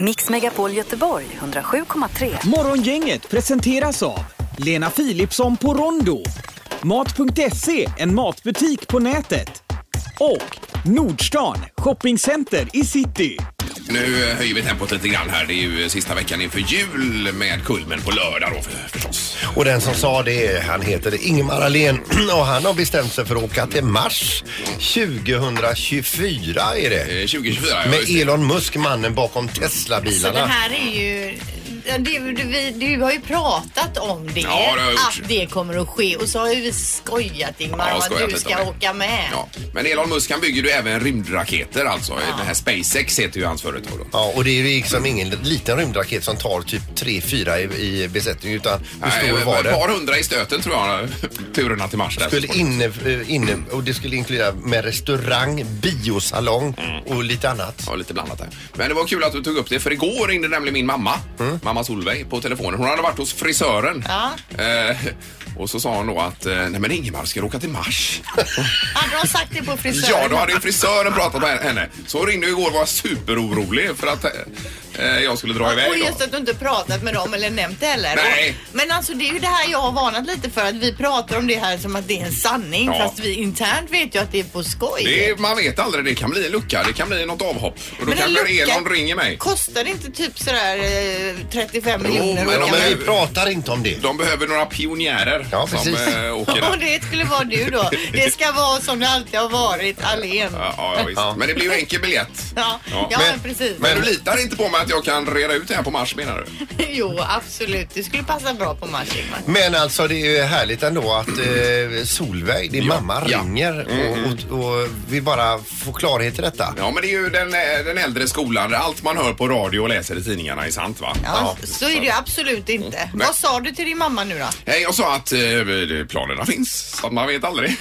Mix Megapol Göteborg 107,3. Morgongänget presenteras av Lena Philipsson på Rondo, Mat.se, en matbutik på nätet och Nordstan, shoppingcenter i city. Nu eh, höjer vi tempot lite grann här. Det är ju eh, sista veckan inför jul med Kulmen på lördag då för, förstås. Och den som sa det, han heter Ingmar Ahlén och han har bestämt sig för att åka till Mars 2024 är Eh, det. 2024. ja, just det. Med Elon Musk, mannen bakom Så det Tesla-bilarna. här är ju... ja, Du, du, vi, du har ju pratat om det, Ja, det har jag gjort. att det kommer att ske och så har ju vi skojat Ingmar Ja, om skojat att du lite ska om det. åka med. Ja. Men Elon Musk han bygger ju även rymdraketer alltså. Det här SpaceX heter ju hans företag då. Ja, och det är ju liksom ingen liten rymdraket som tar typ 3-4 i, i besättning utan hur stor Nej, eh, var ett par den? hundra i stöten tror jag, turerna till Mars där. Skulle inne, eh, inne, och det skulle inkludera med restaurang, biosalong och lite annat. Ja, lite blandat där. Men det var kul att du tog upp det, för igår ringde nämligen min mamma, Mm. mamma Solveig, på telefonen. Hon hade varit hos frisören. Ja. Eh, och så sa hon då att, eh, nej men Ingemar ska du åka till Mars. Hade de sagt det på frisören? ja, då hade ju frisören pratat med henne. Så hon ringde igår och var superorolig för att eh, jag skulle dra iväg Och då. just att du inte pratat med dem eller nämnt det heller. Nej. Och, men alltså det är ju det här jag har varnat lite för att vi pratar om det här som att det är en sanning Ja. fast vi internt vet ju att det är på skoj. Det är, man vet aldrig, det kan bli en lucka, det kan bli något avhopp. Och då Men en kanske lucka- Elon ringer mig. Kostar det inte typ sådär eh, 35 Jo, miljoner? men att om åka Men med? vi pratar inte om det. De behöver några pionjärer Ja, som precis. eh, åker där. Och det skulle vara du då. Det ska vara som det alltid har varit, Allén. Ja, ja, ja, visst. Ja. Men det blir ju enkel biljett. Ja, ja, men precis. Men du litar inte på mig att jag kan reda ut det här på Mars menar du? Jo, absolut. Det skulle passa bra på Mars, Ingmar. Men alltså det är ju härligt ändå att eh, Solveig, din mamma, Ja. Mm, ringer och, och, och vi bara får klarhet i detta. Ja men det är ju den, eh, den äldre skolan där allt man hör på radio och läser i tidningarna är sant va? Ja, så är det ju absolut inte. Mm, Nej. Vad sa du till din mamma nu då? Nej, Jag sa att eh, planerna finns, så att man vet aldrig.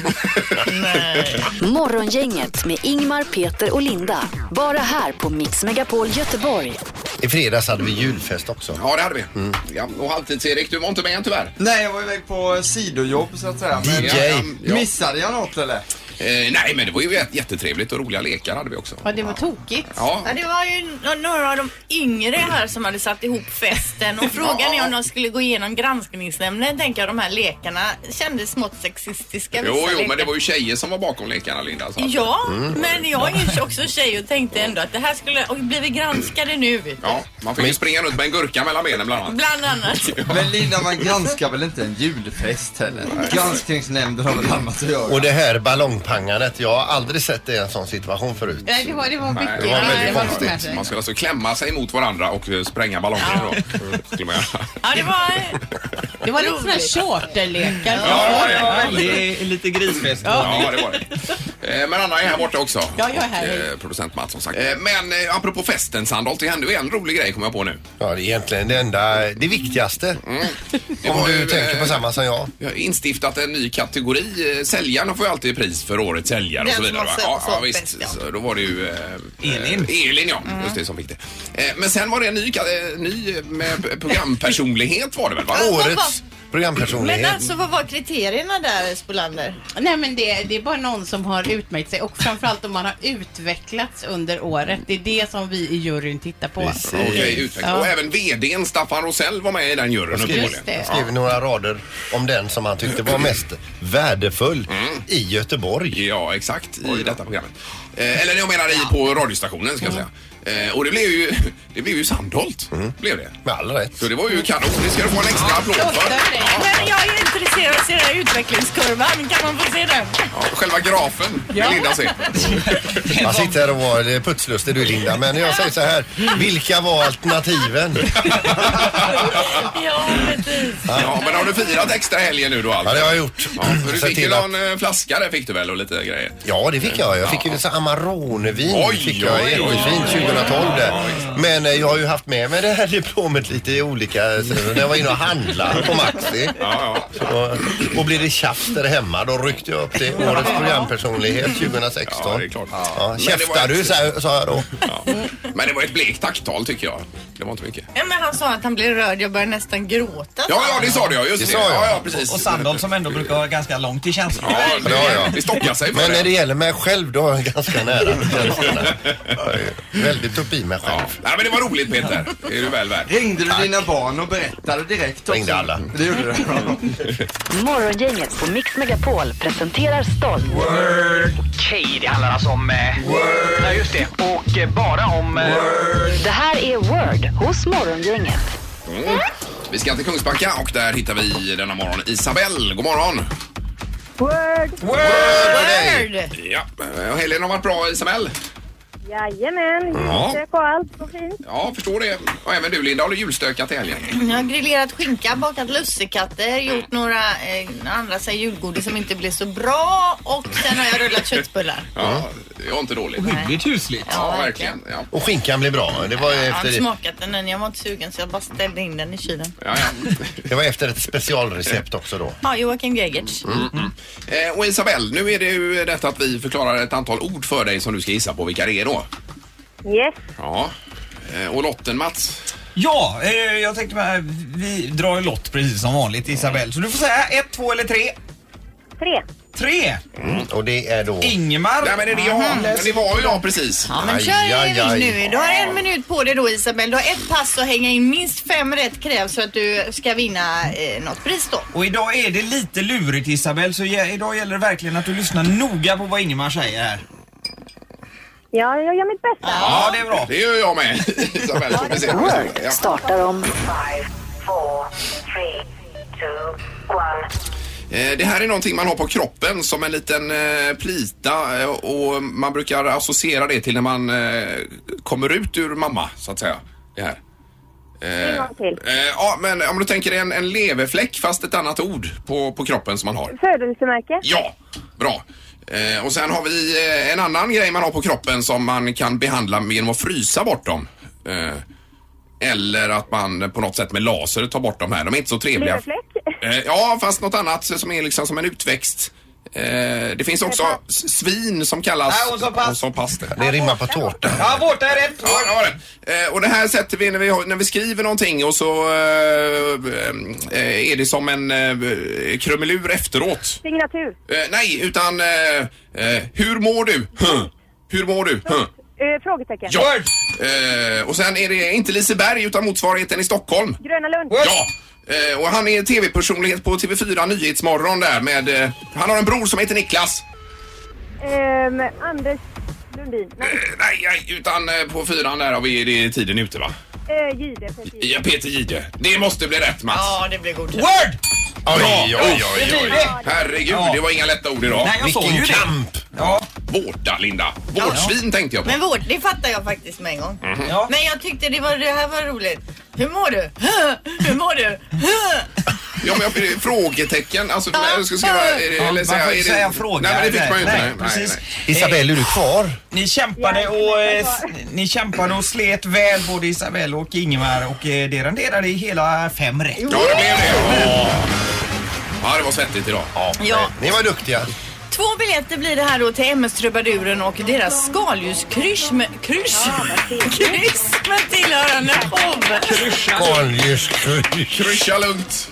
Morgongänget med Ingmar, Peter och Linda. Bara här på Mix Megapol Göteborg. I fredags hade vi julfest också. ja det hade vi. Mm. Ja, och halvtids-Erik, du var inte med tyvärr. Nej, jag var iväg på sidojobb så att säga. Men, DJ. Ja. Missade jag något eller? Eh, nej men det var ju jät- jättetrevligt och roliga lekar hade vi också. Ja, det var tokigt. Ja. det var ju n- några av de yngre här som hade satt ihop festen och frågan är om de skulle gå igenom granskningsnämnden. Tänker jag, de här lekarna kändes smått sexistiska. Jo, vissa jo, men det lekar. var Mm. ju tjejer som var bakom lekarna Linda. Så. att- Ja, men jag är ju också tjej och tänkte ändå att det här skulle... Och blir vi granskade nu? Vet du? ja, man fick ju springa runt med en gurka mellan benen bland annat. Bland annat. Men Linda, man granskar väl inte en julfest heller? Granskningsnämnden har väl annat att göra? Och det här ballongpangandet, jag har aldrig sett det i en sån situation förut. Nej, det var, det var mycket. det var väldigt det var konstigt. kanske. Man skulle alltså klämma sig mot varandra och eh, spränga ballonger då. Skulle man göra. Ja, det var... Det var lite sådana här charterlekar. Ja, det var det. är lite grisfest. Ja, det var det. Eh, Men Anna är här borta också. Ja, jag är här. Och, eh, Producent Mats som sagt. Eh, Men eh, apropå festen Sandholt, det hände ju en rolig grej kom jag på nu. Ja, det är egentligen det enda, det viktigaste. Mm. Det Om var du ju, tänker på eh, samma som jag. Vi har instiftat en ny kategori. Eh, Säljarna får ju alltid pris för årets säljare och Den så som vidare. har va? sålt- Ja, ja, sålt bäst, visst. ja. Mm. Så då var det ju... eh, Elin. Eh, Elin, ja. Just det som fick det. Eh, men sen var det en ny, ka- eh, ny eh, med p- programpersonlighet var det väl? Va? Ja. vad- Årets Men programpersonlighet. alltså, vad var kriterierna där, Spolander? Nej men det, det är bara någon som har utmärkt sig och framförallt om man har utvecklats under året. Det är det som vi i juryn tittar på. Precis. Okej, utveckling. Ja. Och även VDn Staffan Rosell var med i den juryn uppenbarligen. det. Jag skrev några rader om den som han tyckte var mest värdefull Mm. i Göteborg. Ja, exakt. I detta programmet. Eh, eller jag menar i på radiostationen ska jag säga. Eh, och det blev ju, det blev ju Sandholt. Blev det. Med all rätt. Så det var ju kanon. Det ska du få en extra applåd för. Men jag är intresserad av att se den här utvecklingskurvan. Kan man få se den? Ja, själva grafen vill Linda se. Man sitter här och var putslustig du Linda, men jag säger så här. Vilka var alternativen? Ja, precis. Ja, men har du firat extra helgen nu då? Alltså? Ja, det har jag gjort. Ja, för du Sett fick ju till att- någon eh, flaska där fick du väl och lite grejer. Ja, det fick jag. Jag fick ju Ja. så Amaronevin. Oj, fick jag oj, oj, oj. jättefint 2012 där. Men eh, jag har ju haft med mig det här diplomet lite i olika... När jag var inne och handlade på Maxi. Ja, ja. Och, och blev det tjafs där hemma då ryckte jag upp det. Årets programpersonlighet 2016. Ja, det är klart. Ja, Ja, men käftar det var- du sa jag- sa jag då. Ja. Men det var ett blekt tacktal tycker jag. Det var inte mycket. Ja, men han sa att han blev rörd. Jag började nästan gråta. Ja, ja, det sa du ja. Just det. Det sa jag. Ja, ja, precis. Och Sandholm som ändå brukar ha ganska långt till känslan. Ja, det, Ja, ja. det stockar sig för Men när det. det gäller mig själv då har jag ganska ganska nära till känslorna. Jag är Väldigt uppe i mig Ja. själv. Nej, men det var roligt Peter. Det är du väl värd. Ringde du dina barn och berättade direkt också? Ringde alla. Det gjorde du. Morgongänget på Mix Megapol presenterar stolt Okej, det handlar alltså om... Eh, ja, just det. Och eh, bara om... Eh, Det här är Word hos Morgongänget. Mm. Vi ska till Kungsbacka och där hittar vi denna morgon Isabelle. God morgon! Hör dig! Word! Ja, eh, helgen har varit bra Isabelle. Jajamän, Ja. och allt så fint. Ja, förstår det. Och även du Linda har du julstökat till helgen. Jag har grillerat skinka, bakat lussekatter, gjort några eh, andra så här, julgodis som inte blev så bra och sen har jag rullat köttbullar. Ja, det var inte dåligt. Hyggligt husligt. Ja, verkligen. Ja. Och skinkan blev bra. Det var, ju Jag har efter, inte smakat den än, jag var inte sugen så jag bara ställde in den i kylen. Ja, ja. det var efter ett specialrecept också då. Ja, Joakim Gregertz. Mm. Eh, och Isabelle, nu är det ju detta att vi förklarar ett antal ord för dig som du ska gissa på vilka det är då. Yes, Ja. Eh, Och lotten Mats? Ja, eh, jag tänkte bara, vi drar ju lott precis som vanligt Isabelle. Så du får säga ett, två eller tre. tre. Tre! Mm. Och det är då... Ingmar. Nej men är det jag? Men det var ju jag precis. Ja, men Aj, kör aj, in aj. nu. Du har en minut på dig då Isabel. Du har ett pass att hänga in. Minst fem rätt krävs för att du ska vinna eh, något pris då. Och idag är det lite lurigt Isabelle, så ge- idag gäller det verkligen att du lyssnar noga på vad Ingmar säger här. Ja, jag gör mitt bästa. Ja, det är bra. Det gör jag med. Isabelle, får vi se. Word Ja. startar om Eh, Det här är någonting man har på kroppen som en liten eh, plita eh, och man brukar associera det till när man eh, kommer ut ur mamma, så att säga. Det här. En gång till. Eh, Ja, men om du tänker dig en, en leverfläck fast ett annat ord på, på kroppen som man har. Födelsemärke. Ja, bra. Eh, och sen har vi eh, en annan grej man har på kroppen som man kan behandla genom att frysa bort dem. Eh, eller att man på något sätt med laser tar bort dem här. De är inte så trevliga. Leverfläck? Eh, ja, fast något annat som är liksom som en utväxt. Eh, det finns också s- svin som kallas... Nej, hon sa pass. Hon sa pass det. Det rimmar på tårta. Ja, vårta är rätt. Ja, det var det. Eh, och det här sätter vi när vi, har- när vi skriver någonting och så eh, eh, är det som en eh, krumelur efteråt. Signatur. Eh, nej, utan eh, eh, hur mår du? Huh. Hur mår du? Huh. Eh, frågetecken. Ja. Eh, och sen är det inte Liseberg utan motsvarigheten i Stockholm. Gröna Lund. Ja. Eh, och han är tv-personlighet på TV4 Nyhetsmorgon där med... Eh, han har en bror som heter Niklas. Ehm, Anders Lundin. Nej, Eh, nej, nej, utan eh, på fyran där har vi det är tiden ute va? eh, Jihde. precis. Ja, Peter Jihde. Det måste bli rätt Mats. Ja, det blir godkänt. Word! Oj, oj, oj. oj. Herregud, Ja. det var inga lätta ord idag. Nej, jag sa ju Vilken det. kamp! Ja, Vårta, Linda. Vårdsvin tänkte jag på. Men vårt, det fattar jag faktiskt med en gång. Mhm. ja. Men jag tyckte det, var, det här var roligt. Hur mår du? Hur mår du? Ja, men jag, frågetecken. Alltså, Ja. jag ska skriva... är det- Ja, man eller får är inte det- säga fråga. Nej, men det fick man ju inte. Nej, precis. nej. Isabelle, är du kvar? Ni kämpade och, eh, s- ni kämpade och slet väl både Isabelle och Ingmar och eh, det renderade i hela fem rätt. Ja, det blev det. Ja. Ja, det var svettigt idag. Ja. Ni var duktiga. Två biljetter blir det här då till MS Trubaduren och deras skaldjurskryss med, kryss, kryss med tillhörande show. Skaldjurskryss. Kryscha lugnt.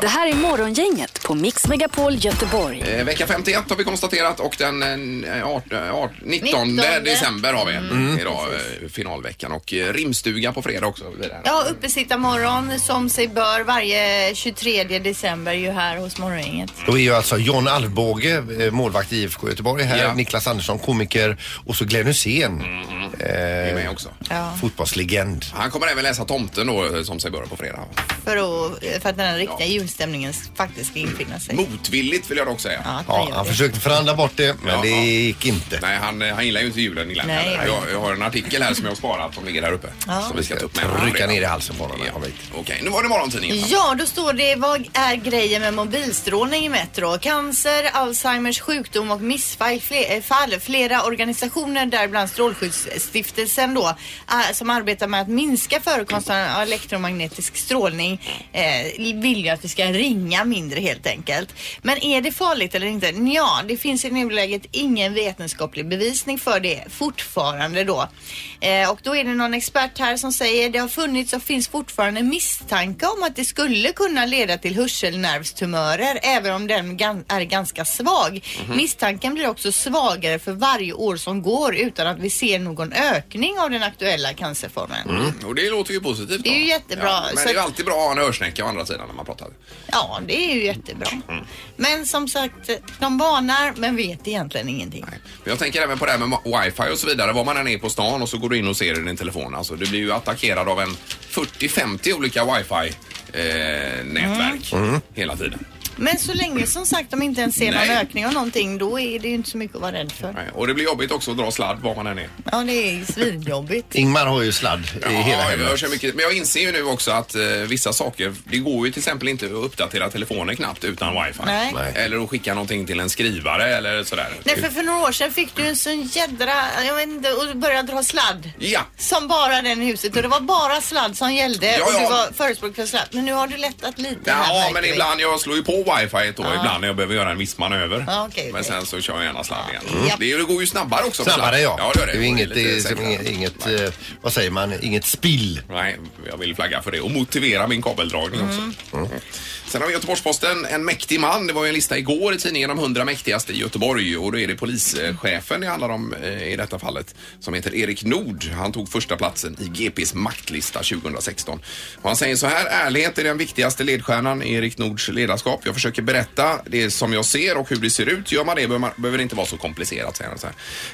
Det här är Morgongänget på Mix Megapol Göteborg. Eh, vecka 51 har vi konstaterat och den eh, art, eh, art, 19, 19. december har vi Mm. idag, eh, finalveckan. Och eh, rimstuga på fredag också. blir det här. Ja, uppesittarmorgon som sig bör varje 23 december ju här hos Morgongänget. Då är ju alltså John Alvbåge, eh, målvakt i IFK Göteborg här, Ja. Mm, Niklas Andersson, komiker och så Glenn Hysén, Är med eh, också. Ja, fotbollslegend. Han kommer även läsa Tomten då, eh, som sig bör på fredag. för, att, för att den här riktiga julstämningen faktiskt ska infinna sig. Motvilligt vill jag dock säga. Ja, att man Ja, gör han det. försökte förhandla bort det, men Ja, det ja. gick inte. Nej, han, eh, han gillar ju inte julen. Gillar han Nej. heller. jag, jag har en artikel här som jag har sparat som ligger här uppe. Ja. Som vi ska ta upp med Jag honom rycka redan. ner i halsen på honom när han kom hit. Okej, nu var det morgontidningen. Ja, då står det vad är grejen med mobilstrålning i Metro? Cancer, Alzheimers sjukdom och missfall. fle- eh, fall. Flera organisationer, däribland Strålskyddsstiftelsen då, eh, som arbetar med att minska förekomsten av elektromagnetisk strålning, eh, vill ju att att vi ska ringa mindre helt enkelt. Men är det farligt eller inte? Ja, det finns i nuläget ingen vetenskaplig bevisning för det fortfarande då. Eh, och då är det någon expert här som säger det har funnits och finns fortfarande misstanke om att det skulle kunna leda till hörselnervstumörer även om den gan- är ganska svag. Mhm. Misstanken blir också svagare för varje år som går utan att vi ser någon ökning av den aktuella cancerformen. Mm. Och det låter ju positivt. Det är då. ju jättebra. Ja, men Så det är ju att- alltid bra att ha en örsnäcka å andra sidan när man pratar. Ja, det är ju jättebra. Mm. Men som sagt, de varnar men vet egentligen ingenting. Men Jag tänker även på det här med ma- wifi och så vidare. Var man än är på stan och så går du in och ser i din telefon. Alltså, du blir ju attackerad av en 40-50 olika wifi-nätverk Mm. hela tiden. Men så länge som sagt de inte ens ser någon Nej. ökning av någonting då är det ju inte så mycket att vara rädd för. Och det blir jobbigt också att dra sladd var man än är. Ja, det är svinjobbigt. Ingmar har ju sladd i hela Ja, hemmet. jag kör mycket. Men jag inser ju nu också att eh, vissa saker, det går ju till exempel inte att uppdatera telefonen knappt utan wifi. Nej. Nej. Eller att skicka någonting till en skrivare eller sådär. Nej, för för några år sedan fick du en sån jädra, jag vet inte, och började dra sladd. Ja. Som bara den i huset och det var bara sladd som gällde Ja, och du ja. var förespråkare för sladd. Men nu har du lättat lite här Ja, men märker vi. ibland jag slår ju på wifi då, Ja. ibland när jag behöver göra en viss manöver. Ja, okej, Men okej. sen så kör jag gärna sladd igen. Mm. Det, det går ju snabbare också. på Snabbare sladd. ja. ja det, gör det. är ju Och inget, lite det är säkrare. inget, inget eh, vad säger man, inget spill. Nej, jag vill flagga för det och motivera min kabeldragning också. Mm. Sen har vi Göteborgs-Posten, en mäktig man. Det var ju en lista igår i tidningen om 100 mäktigaste i Göteborg och då är det polischefen det handlar om eh, i detta fallet som heter Erik Nord. Han tog första platsen i GPs maktlista 2016. Och han säger så här, ärlighet är den viktigaste ledstjärnan i Erik Nords ledarskap. Jag försöker berätta det som jag ser och hur det ser ut. Gör man det behöver, man, behöver det inte vara så komplicerat, säger han så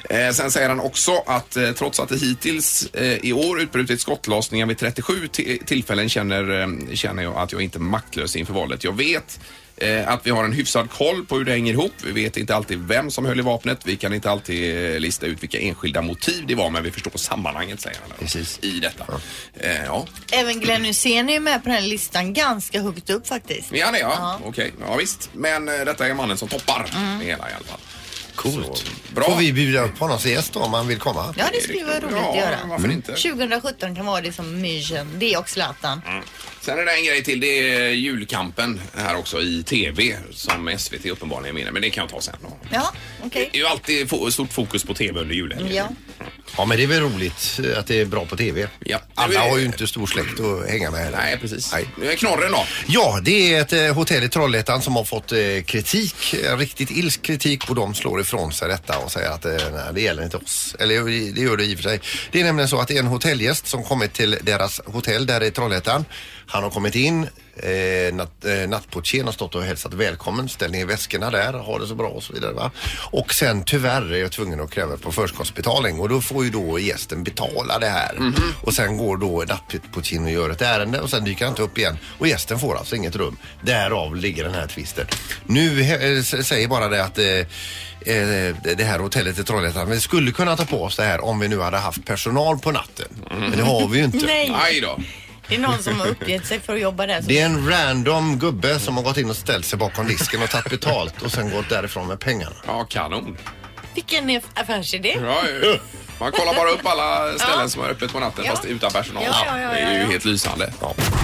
här. Eh, sen säger han också att eh, trots att det hittills eh, i år utbrutit skottlossningar vid 37 ti- tillfällen känner, eh, känner jag att jag inte är maktlös inför valet. Jag vet eh, att vi har en hyfsad koll på hur det hänger ihop. Vi vet inte alltid vem som höll i vapnet. Vi kan inte alltid eh, lista ut vilka enskilda motiv det var, men vi förstår sammanhanget, säger han. Precis. I detta. Eh, ja. Även Glenn Hysén är ju med på den här listan ganska högt upp faktiskt. Ja, det är ja. Okej, ja visst. Men eh, detta är mannen som toppar det hela i alla fall. Coolt. bra. Får vi bjuda upp honom till gäst då om han vill komma? Ja, det skulle vara roligt Ja, att göra. varför inte? 2017 kan vara det som mission. Det och Zlatan. Mm. Sen är det en grej till. Det är julkampen här också i TV som SVT uppenbarligen vinner. Men det kan jag ta sen. Då. Ja, okej. Det är ju alltid fo- stort fokus på TV under julhelgen. Ja. Ja, men det är väl roligt eh, att det är bra på TV. Alla har ju inte stor släkt att hänga med heller. Nej, precis. Nu är knorren då. Ja, det är ett eh, hotell i Trollhättan som har fått eh, kritik, en riktigt ilsk kritik och de slår ifrån sig detta och säger att eh, nej, det gäller inte oss. Eller jo, det det gör det i och för sig. Det är nämligen så att det är en hotellgäst som kommit till deras hotell där i Trollhättan. Han har kommit in, eh, natt, eh, nattportieren har stått och hälsat välkommen, ställ ner väskorna där, ha det så bra och så vidare. Va? Och sen tyvärr är jag tvungen att kräva på förskottsbetalning och då får ju då gästen betala det här. Och sen går då nattportieren och gör ett ärende och sen dyker han inte upp igen. Och gästen får alltså inget rum. Därav ligger den här tvisten. Nu eh, s- säger bara det att eh, eh, det här hotellet i Trollhättan, vi skulle kunna ta på oss det här om vi nu hade haft personal på natten. Men det har vi ju inte. Nej. Aj då. Det är någon som har uppgett sig för att jobba där. Det är en random gubbe som har gått in och ställt sig bakom disken och tagit betalt och sen gått därifrån med pengarna. Ja, kanon. Vilken affärsidé. Ja, ja. Man kollar bara upp alla ställen som är öppet på natten Ja. fast utan personal. Ja, ja, ja, det är ju ja, ja. helt lysande.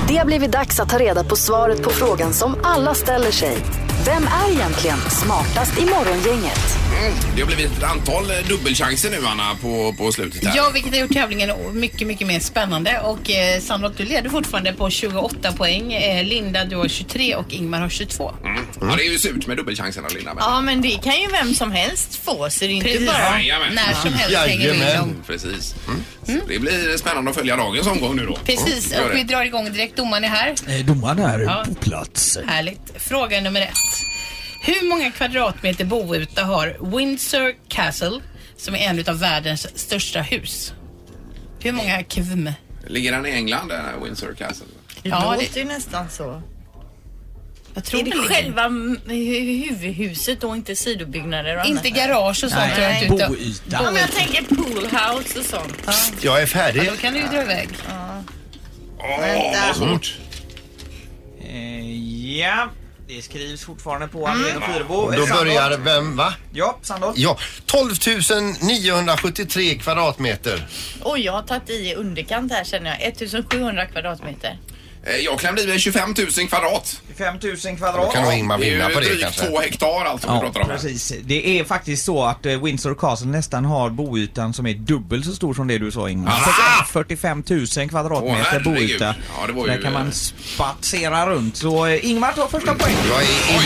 Det har blivit dags att ta reda på svaret på frågan som alla ställer sig. Vem är egentligen smartast i morgongänget? Mm, Det har blivit ett antal eh, dubbelchanser nu, Anna, på, på slutet här. Ja, vilket har gjort tävlingen mycket, mycket mer spännande. Och eh, Sandra, du leder fortfarande på 28 poäng. Eh, Linda, du har 23 och Ingmar har 22. Mm. Ja, det är ju surt med dubbelchanserna, Linda. Men... Ja, men det kan ju vem som helst få så det är inte Precis. bara Jajamän. när som helst hänger det i dem. Jajamän. Mm, Precis. Så Det blir spännande att följa dagens omgång nu då. Precis, Gör och det. vi drar igång direkt. Domaren är här. Eh, Domaren är Ja. på plats. Härligt. Fråga nummer ett. Hur många kvadratmeter Boyta har Windsor Castle, som är en av världens största hus? Hur många kvm? Ligger den i England, den här Windsor Castle? Ja, det det- låter ju nästan så. Alltså. Jag är det Alltså. själva m- hu- huvudhuset och inte sidobyggnader och Inte annat? garage och sånt Nej. tror jag inte. utan- Ja, men jag tänker poolhouse och sånt. Jag är färdig. Ja, då kan du ju dra iväg. Vänta. vad svårt. Eh, Ja, det skrivs fortfarande på Mm. Andrén och Fyrebo. Mm. Då börjar vem, va? Ja, Sandholt. Ja, 12 973 kvadratmeter. Oj, jag har tagit i i underkant här känner jag. 1700 kvadratmeter. Eh, Jag klämde i mig 25 000 kvadrat. 5 000 kvadrat. Då kan nog Ingmar vinna på det drygt kanske. två hektar alltså vi pratar om. här. precis. Det är faktiskt så att eh, Windsor Castle nästan har boytan som är dubbelt så stor som det du sa Ingmar. 45 000 Åh, kvadratmeter herregud. boyta. Ja, det var Där ju, kan eh, man spatsera runt. Så eh, Ingmar tar första poängen. Jag är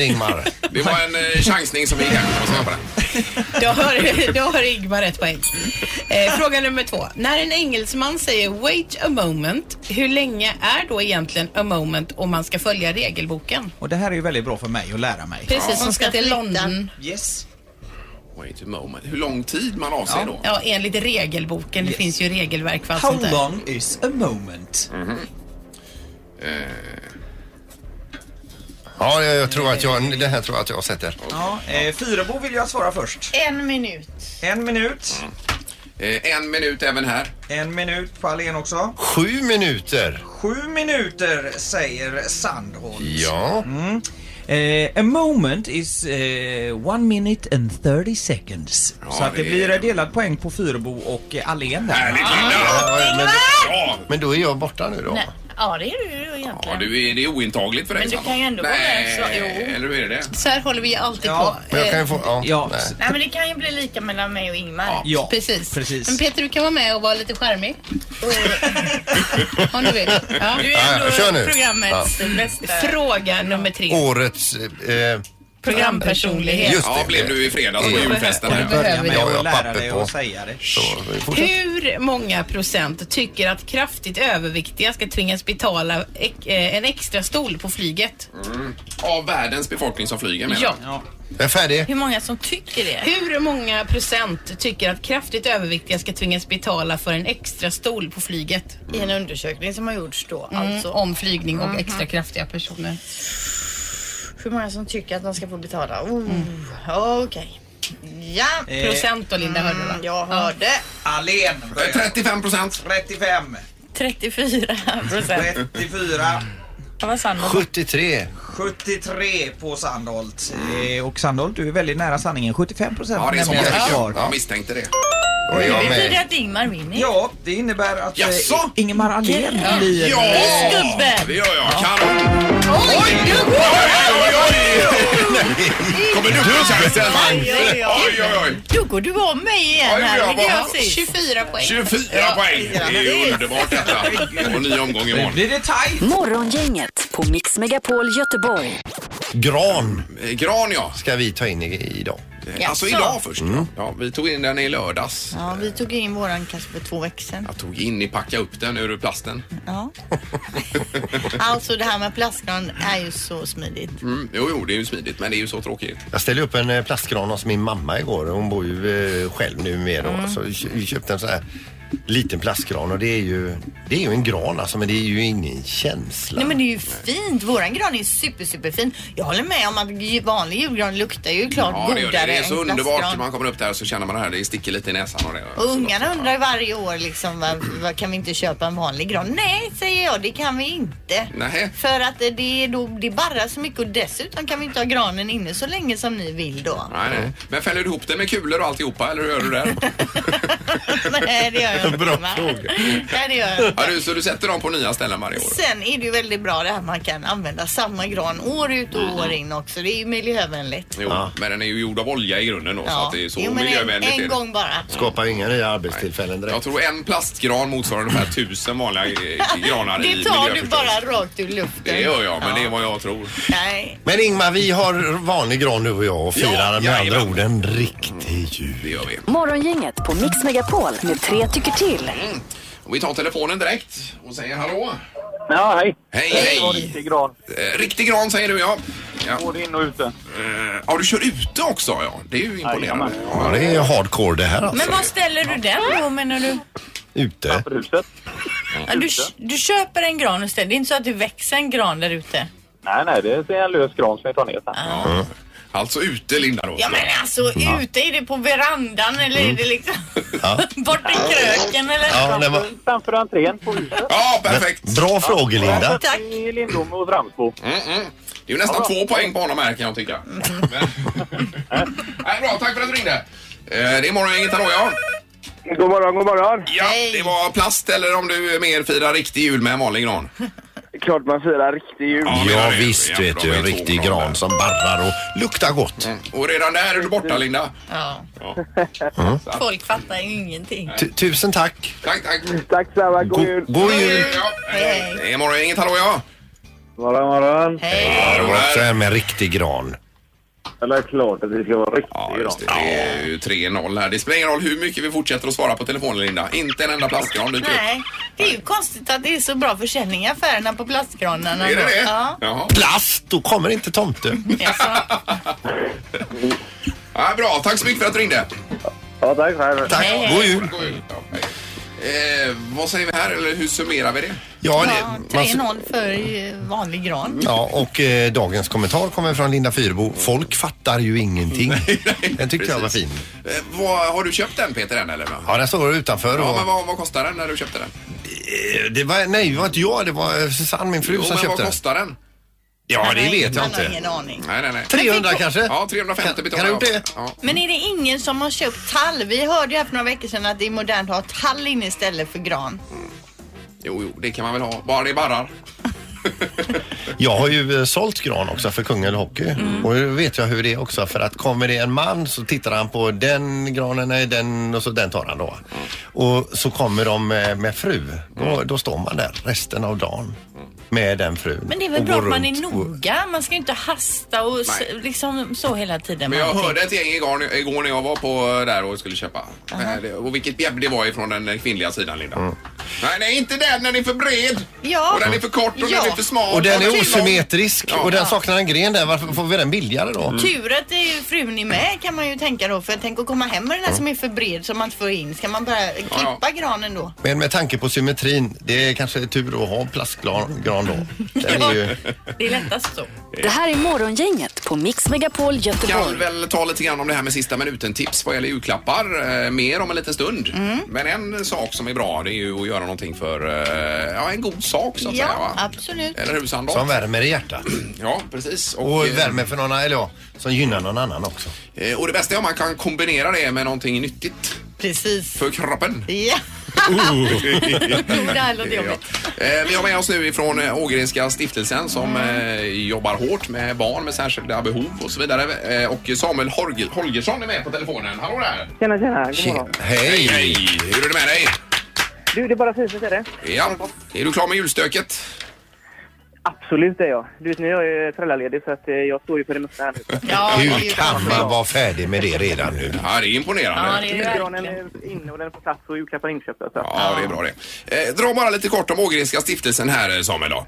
Ingmar. Det var en eh, chansning som gick hem. kan man säga på det. Då har, då har Ingmar ett poäng. Eh, fråga nummer två. När en engelsman säger wait a moment, hur länge är då egentligen a moment om man ska följa regelboken? Och det här är ju väldigt bra för mig att lära mig. Precis, som ska till London. Yes. Wait a moment. Hur lång tid man avser då? Ja, enligt regelboken. Det Yes. finns ju regelverk för allt How sånt där. long is a moment? Mm. Ja, jag, jag tror att jag, det här tror jag att jag sätter. Ja, eh, Fyrebo vill jag svara först. En minut. En minut. Eh, en minut även här. En minut på Allén också. Sju minuter. Sju minuter säger Sandholt. Ja. Mm. Eh, a moment is eh, one minute and 30 seconds. Så att det det- blir delad poäng på Fyrebo och eh, Allén där. Härligt Linda! Ja, men, Ja, men då är jag borta nu då. Nej. Ja, det är du ju egentligen. ja du är, det är ointagligt för dig Men du Sandra. kan ju ändå vara Nej, med, så- jo. eller hur är det? Så här håller vi ju alltid Ja, på. Men jag kan Eh, ju få... Ja. Ja, nej. s- Nej men det kan ju bli lika mellan mig och Ingmar. ja Eh, Precis. precis. Men Peter, du kan vara med och vara lite charmig. Om du vill. Ja. är Ja, ja, ändå kör nu. programmets bästa. Fråga nummer tre. Årets... Eh, Programpersonlighet. just Ja, det. blev du i fredags på Mm. julfesten Du här. behöver Börja med det. Ja, jag att har lära papper dig på. att säga det. Så, vi fortsätter. Hur många procent tycker att kraftigt överviktiga ska tvingas betala ek- eh, en extra stol på flyget? Av världens befolkning som flyger menar Ja. Ja. Jag är färdig. Hur många som tycker det? Hur många procent tycker att kraftigt överviktiga ska tvingas betala för en extra stol på flyget? I en undersökning som har gjorts då Alltså Mm. alltså. om flygning Mhm. och extra kraftiga personer. Hur många som tycker att de ska få betala? Oh, Mm. Okej. Ja. Eh. Procent då Linda, hörde du va? Mm, jag hörde. Allén jag. Eh, börjar. 35 procent. 35, 34 procent. 34, Vad var sanningen? 73. 73 på Sandholt. Eh, Och Sandholt, du är väldigt nära sanningen. 75 procent. Ja, det är så mycket. svar. Jag misstänkte det. Och jag Det betyder med. att Ingmar vinner. Ja, det innebär att eh, Jaså? Ingemar Ahlén blir... Ja! Det gör jag. Kanon! Oj, oj, oj, oj! Kommer du på chansen? Oj, oj, oj. Oj, oj, oj. Då går du om mig igen Oj, här. jag vilket bara- jag sist. 24 poäng. 24 poäng! Det är ju underbart detta. Och ny omgång Nu imorgon. blir det tajt. Morgongänget på Mix Megapol Göteborg. Gran Eh, Gran ja. ska vi ta in i- idag. Eh, Alltså Jaså? idag först. Mm. ja. Ja, vi tog in den i lördags. Ja, vi tog ju in våran kanske för två veckor sedan. Jag tog in i packa upp den ur plasten. Ja. alltså det här med plastgran är ju så smidigt. Mm, jo, jo, det är ju smidigt men det är ju så tråkigt. Jag ställde upp en eh, plastgran hos min mamma igår. Hon bor ju eh, själv nu med då. Så vi kö- vi köpte en sån här liten plastgran och det är ju, det är ju en gran alltså men det är ju ingen känsla. Nej men det är ju fint. Våran gran är ju super super fin. Jag håller med om att ju- vanlig julgran luktar ju klart Ja, det, gör det. godare det är så än underbart när plastgran. man kommer upp där så känner man det här. Det sticker lite i näsan och det. Och ungarna undrar ju varje år liksom var, var, kan vi inte köpa en vanlig gran? Nej säger jag, det kan vi inte. Nej. För att eh, det, är då, det barrar så mycket och dessutom kan vi inte ha granen inne så länge som ni vill då. Nej, nej. Men fäller du ihop det med kulor och alltihopa eller hur gör du där? Nej det gör jag inte. Bra va? fråga. Nej det gör jag inte. ja, du, så du sätter dem på nya ställen varje år? Sen är det ju väldigt bra det här man kan använda samma gran år ut och Mm. år in också. Det är ju miljövänligt. Jo, men den är ju gjord av olja i grunden då så att det är så jo, men en, miljövänligt. är en det. gång bara. Skapar ju inga nya arbetstillfällen direkt. Jag tror en plastgran motsvarar ungefär tusen vanliga eh, granar i Det tar du miljöförstörelse. bara rakt ur luften. Det gör jag, men Ja. det är vad jag tror. Nej. Men Ingmar, vi har vanlig gran du och jag och firar Ja, med andra jajamän. ord en riktig jul. Det gör vi. Morgongänget på Mix Megapol med tre tycker till. Och vi tar telefonen direkt och säger hallå. Ja, hej. Hej, Det var hej! riktig gran. Eh, Riktig gran säger du ja. Ja, Både in och ute. eh, ja du kör ute också ja. Det är ju imponerande. Jajamän. Ja, det är hardcore det här alltså. Men var ställer du den då menar Mm. du? Ute. För huset. Ja, du, du köper en gran och ställer. Det är inte så att det växer en gran där ute. Nej, nej, det är en lös gran som vi tar ner sen. Ja. Alltså ute Linda då. Ja men alltså Mm. ute, är det på verandan eller är det liksom Ja. bort i kröken eller? Ja, det var... Framför entrén på huset. Ja, perfekt. Bra frågor Linda. Tack. I Lindom och Ramsbo. Det är ju nästan två poäng på honom här kan jag tycka. Men... Nej, bra, tack för att du ringde. Eh, Det är morgongänget, hallå ja. God morgon, god morgon. Ja, det var plast eller om du mer firar riktig jul med en vanlig gran. klart man firar riktig jul. Ja, visst vet du, en riktig gran som barrar och luktar gott. Och redan där är du borta, Linda. Ja. Mm. Folk fattar ju ingenting. Tu- Tusen tack. Tack, tack. Tack samma, god jul. God jul. Hej, hej. morgon, inget hallå ja. Morgon, morgon. Ja, det var också en med riktig gran. Eller är klart att det ska vara riktig Ja, just det. Det är ju 3-0 här. Det spelar ingen roll hur mycket vi fortsätter att svara på telefonen, Linda. Inte en enda plastgran dyker upp. Nej, det är ju konstigt att det är så bra försäljning i affärerna på plastgranarna. Är det då. det? Ja. Plast, då kommer inte tomten. Ja, bra, tack så mycket för att du ringde. Ja, tack själv. Tack. Hej, hej. God jul. God jul. Ja, hej. eh, vad säger vi här, eller hur summerar vi det? Ja, Ja, man- 3-0 för eh, vanlig gran. Ja, och eh, dagens kommentar kommer från Linda Fyrebo. Folk fattar ju ingenting. Den tyckte jag var fin. Eh, vad, har du köpt den, Peter, än, eller? Ja, den står utanför. Ja, Och, men vad, vad kostar den när du köpte den? Eh, det var, nej, det var inte jag. Det var eh, Susanne, min fru, Jo, som men köpte vad den. kostar den? Ja, det vet jag Man har inte. ingen aning. Nej, nej, nej. 300 kanske? Ja, 350 Kan betalar du gjort det? Ja. Men är det ingen som har köpt tall? Vi hörde ju här för några veckor sedan att det är modernt att ha tall inne istället för gran. Jo, jo, det kan man väl ha. Bara det barrar. Jag har ju eh, sålt gran också för Kungälv Hockey. Och då vet jag hur det är också. För att kommer det en man så tittar han på den granen, nej den och så den tar han då. Och så kommer de med, med fru. Då, då står man där resten av dagen med den frun. Men det är väl och bra går att man är runt och- noga. Man ska ju inte hasta och s- liksom så hela tiden. Men jag med allting. hörde ett gäng igår, igår när jag var på där och skulle köpa. Eh, det- Och vilket bjäbb det var ifrån den kvinnliga sidan, Linda. Mm. Nej, nej, inte den. Den är för bred. Ja. Och den är för kort och Ja. den är för smal. Och den för är lång. osymmetrisk Ja. och den Ja. saknar en gren där. Varför får vi den billigare då? Tur att det är frun är med kan man ju tänka då. För tänk att komma hem med den där som är för bred som man inte får in. Ska man börja klippa granen då? Men med tanke på symmetrin, det är kanske tur att ha en plastgran gran då. Den är ju... Det är lättast så. Det här är Morgongänget på Mix Megapol Göteborg. kan väl ta lite grann om det här med sista minuten-tips vad gäller julklappar. Eh, mer om en liten stund. Men en sak som är bra det är ju att göra någonting för eh, ja, en god sak så att säga. Va? absolut. Eller hur Sandholt? Som värmer i hjärtat. Ja, precis. Och, Och eh, värmer för någon, eller ja, som gynnar någon annan också. eh, och det bästa är om man kan kombinera det med någonting nyttigt. Precis. För kroppen. Ja. det här låter jobbigt. Ja. Eh, Vi har med oss nu ifrån eh, Ågrenska stiftelsen som eh, jobbar hårt med barn med särskilda behov och så vidare. Eh, Och Samuel Holger- Holgersson är med på telefonen. Hallå där! Tjena, tjena. God morgon. Hej! Hej! Hur är det med dig? Du, det är bara fysiskt är det? Ja. Är du klar med julstöket? Absolut det är jag. Du vet, nu är jag ju föräldraledig så att eh, jag står ju för det mesta här nu. Hur kan man vara färdig med det redan nu? Ja, det är imponerande. det är Julgranen är Eh, inne och den är på plats och julklappar inköpta. Så. att- Ja, det är bra det. Eh, Dra bara lite kort om Ågrenska stiftelsen här eh, Samuel då.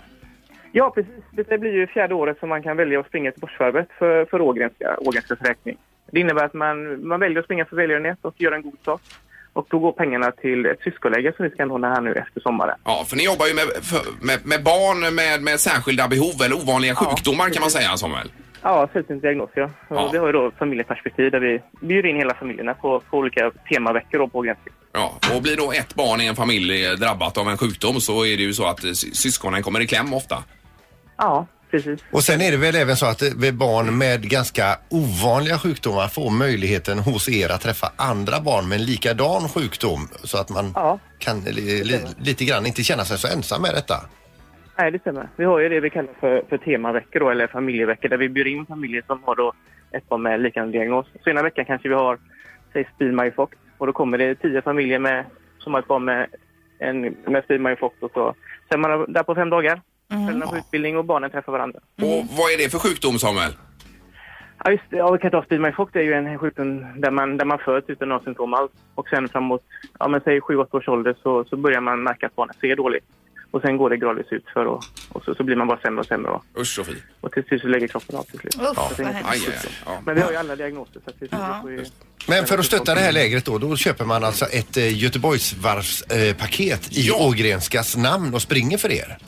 Ja, precis. Det blir ju fjärde året som man kan välja att springa Göteborgsvarvet för, för Ågrenska, Ågrenskas räkning. Det innebär att man, man väljer att springa för välgörenhet och göra en god sak. Och då går pengarna till ett syskonläger som vi ska anordna här nu efter sommaren. Ja, för ni jobbar ju med, för- med, med barn med, med särskilda behov eller ovanliga sjukdomar kan man säga Samuel. Ja, sluten diagnos ja. Och Ja. Vi har ju då familjeperspektiv där vi bjuder in hela familjerna på, på olika temaveckor då på Ågrenska. Ja, och blir då ett barn i en familj eh, drabbat av en sjukdom så är det ju så att eh, sy- syskonen kommer i kläm ofta. Ja, precis. Och sen är det väl även så att eh, barn med ganska ovanliga sjukdomar får möjligheten hos er att träffa andra barn med en likadan sjukdom så att man kan eh, li, li, lite grann inte känna sig så ensam med detta. Nej, det stämmer. Vi har ju det vi kallar för, för temaveckor då, eller familjeveckor där vi bjuder in familjer som har då ett barn med liknande diagnos. Så ena veckan kanske vi har, säg spilmajofokt och då kommer det tio familjer med, som har ett barn med, en, med spilmajofokt och så. Sen är man där på fem dagar. Mm. Föräldrarna får utbildning och barnen träffar varandra. Och vad är det för sjukdom Samuel? Ja, just det. Ja, vi kan ta spilmajofokt. Det är ju en sjukdom där man, där man föds utan några symptom alls. Och sen framåt, ja men säg 7-8 års ålder så, så börjar man märka att barnet ser dåligt. Och sen går det gradvis utför och, och så, så blir man bara sämre och sämre. Och, Usch så fint. och till slut så lägger kroppen av till slut. Uff, Så det är vad inget hemskt. konstigt. aj, ja. Men vi har ju alla diagnoser så att vi vi får ju... Men för att stötta det här lägret då, då köper man alltså ett eh, Göteborgsvarvspaket eh, paket i Ågrenskas namn och springer för er.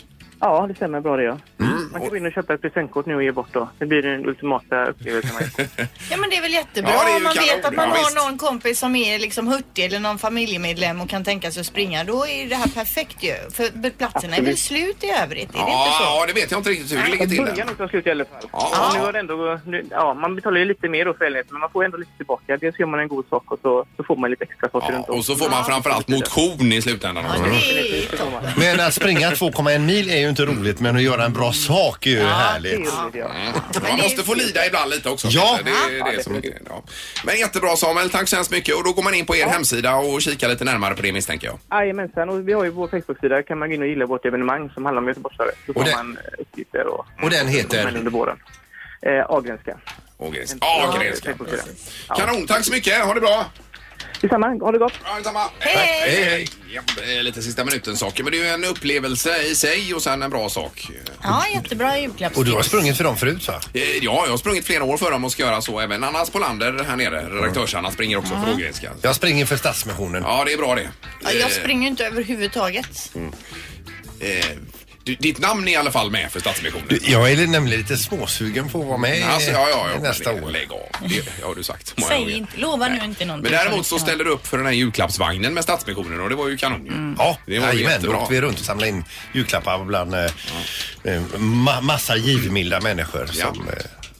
Ja, det stämmer bra det ja. Man kan gå in och köpa ett presentkort nu och ge bort då. Det blir den ultimata upplevelsen. man gör. Ja men det är väl jättebra Ja, det är ju om man kanon. vet att man Ja, har visst. någon kompis som är liksom hurtig eller någon familjemedlem och kan tänka sig att springa. Då är det här perfekt ju. För platserna är väl Absolut. slut i övrigt? Är det inte Ja, så? ja, det vet jag inte riktigt hur det ligger till. Början utav slut i alla fall. Ja. Och Nu har det ändå, nu, ja, man betalar ju lite mer då för helheten, men man får ändå lite tillbaka. Dels gör man en god sak och så, så får man lite extra saker runt om. Och så får man framförallt motion i slutändan också. Men att springa 2,1 mil är ju inte roligt men att göra en bra sak är ju Ja, det är härligt. roligt, Mm. Man måste få lida ibland lite också. Ja. Det är det som är grejen, ja. Men jättebra Samuel, tack så hemskt mycket. Och då går man in på er hemsida och kikar lite närmare på det misstänker jag. Jajamensan, och vi har ju vår Facebook-sida. Där kan man gå in och gilla vårt evenemang som handlar om göteborgare. Då får man eh, uppgifter och... Och den heter? Men under våren. Eh, Agrenska. Ågrenska. Ja, Grenska. Kanon, tack så mycket. Ha det bra. Detsamma, ha det gott. Ja, detsamma. Hej, hej. Ja, det är lite sista minuten saker, men det är ju en upplevelse i sig och sen en bra sak. Ja, jättebra julklappstips. Och du har sprungit för dem förut va? Eh, Ja, jag har sprungit flera år för dem och ska göra så även. Annas Spolander här nere, redaktörs-Anna, springer också för Ågrenska. Jag springer för Stadsmissionen. Ja, det är bra det. Ja, jag Eh, springer ju inte överhuvudtaget. Eh, du- ditt namn är i alla fall med för Stadsmissionen. Du, Jag är nämligen lite småsugen på att vara med Alltså, ja, ja, ja, nästa lägg- år. Lägg av. Det har du sagt så många Säg gånger. inte, lova nu inte någonting. Men däremot som inte så ställde du upp för den här julklappsvagnen med Stadsmissionen och det var ju kanon ju. Ja, Det var jajamän. Då jättebra. åkte vi runt och samlade in julklappar bland eh, eh, ma massa givmilda människor. Som, eh,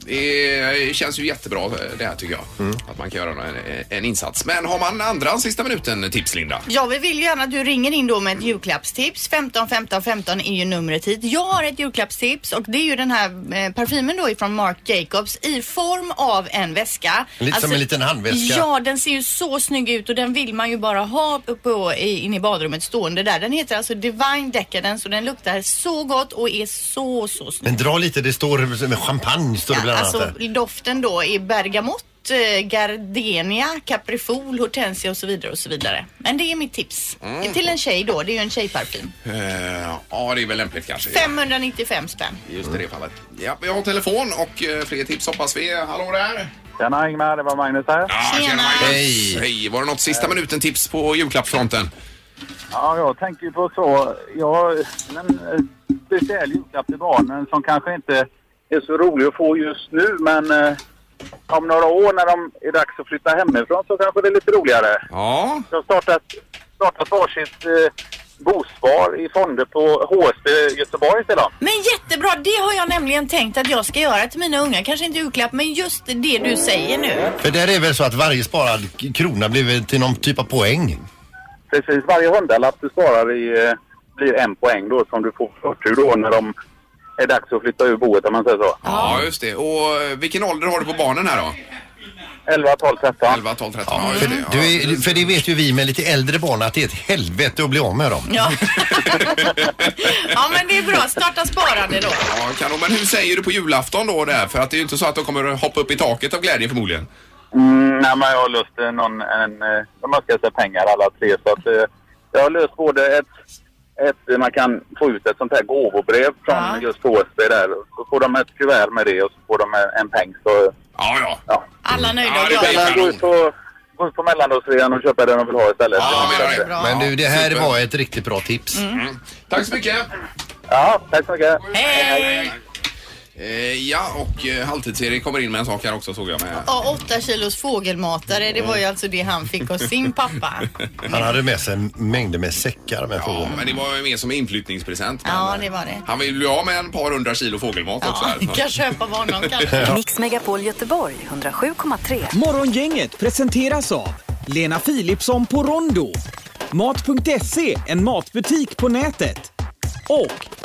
Det är- känns ju jättebra eh, det här tycker jag. Mm. Att man kan göra en, eh, en insats. Men har man andra sista minuten tips Linda? Ja, vi vill gärna att du ringer in då med ett julklappstips. 15 15 15 är ju numret hit. Jag har ett julklappstips och det är ju den här eh, parfymen då ifrån Marc Jacobs i form av en väska. Lite som en liten handväska. Alltså, Ja, den ser ju så snygg ut och den vill man ju bara ha uppe och i- inne i badrummet stående där. Den heter alltså Divine Decadence och den luktar så gott och är så, så snygg. men dra lite, det står med champagne står det bland annat. Alltså där. doften då är bergamott, eh, gardenia, kaprifol, hortensia och så vidare och så vidare. Men det är mitt tips. Mm. Till en tjej då, det är ju en tjejparfym. Eh, ja, det är väl lämpligt kanske. 595 spänn. Just i det fallet. Ja, jag har telefon och eh, fler tips hoppas vi. Hallå där! Tjena Ingmar, det var Magnus här. Ja, tjena, Magnus. Hej! Hej! Var det något sista minuten tips på julklappsfronten? Ja, jag tänker ju på så. Jag har en eh, speciell julklapp till barnen som kanske inte är så rolig att få just nu, men eh, om några år när de är dags att flytta hemifrån så kanske det är lite roligare. Ja. Jag har startat, startat varsitt eh, bospar i fonder på HSB Göteborg till dem. Men jättebra, det har jag nämligen tänkt att jag ska göra till mina unga. Kanske inte julklapp, men just det du säger nu. För där är väl så att varje sparad k- krona blir väl till någon typ av poäng? Precis, varje hundralapp du sparar i eh, blir en poäng då som du får förtur då när de är dags att flytta ur boet om man säger så. Ja, just det. Och eh, vilken ålder har du på barnen här då? 11, 12, 13. 11, 12, 13. Ja, just För, det. du är, för det vet ju vi med lite äldre barn att det är ett helvete att bli av med dem. Ja. ja, men det är bra. Starta sparande då. Ja, kanon. Men hur säger du på julafton då där? För att det är ju inte så att de kommer att hoppa upp i taket av glädje förmodligen. Mm, nej, men jag har löst eh, någon, en, eh, de önskar sig pengar alla tre. Så att, eh, jag har löst både ett, ett, eh, man kan få ut ett sånt här gåvobrev från just HSB där. Så får de ett kuvert med det och så får de eh, en, en peng. Så, ja, ja. Alla nöjda ja och det glada. kan gå ut på, gå ut på mellandagsrean och köpa det de vill ha istället. Men du, det här Super. var ett riktigt bra tips. Mm. Tack så mycket! Ja, tack så mycket. Hej! Eh, ja, och eh, Halvtids-Erik kommer in med en sak här också såg jag med. Ja, åtta kilos fågelmatare, det var ju alltså det han fick av sin pappa. Han hade med sig mängder med säckar med Ja, men det var ju mer som en inflyttningspresent. Men, Ja, eh, det var det. Han vill ju ha med en par hundra kilo fågelmat också här. Kan köpa vad honom Ja. kanske. Mix Megapol Göteborg 107,3. Morgongänget presenteras av Lena Philipsson på Rondo, Mat.se, en matbutik på nätet och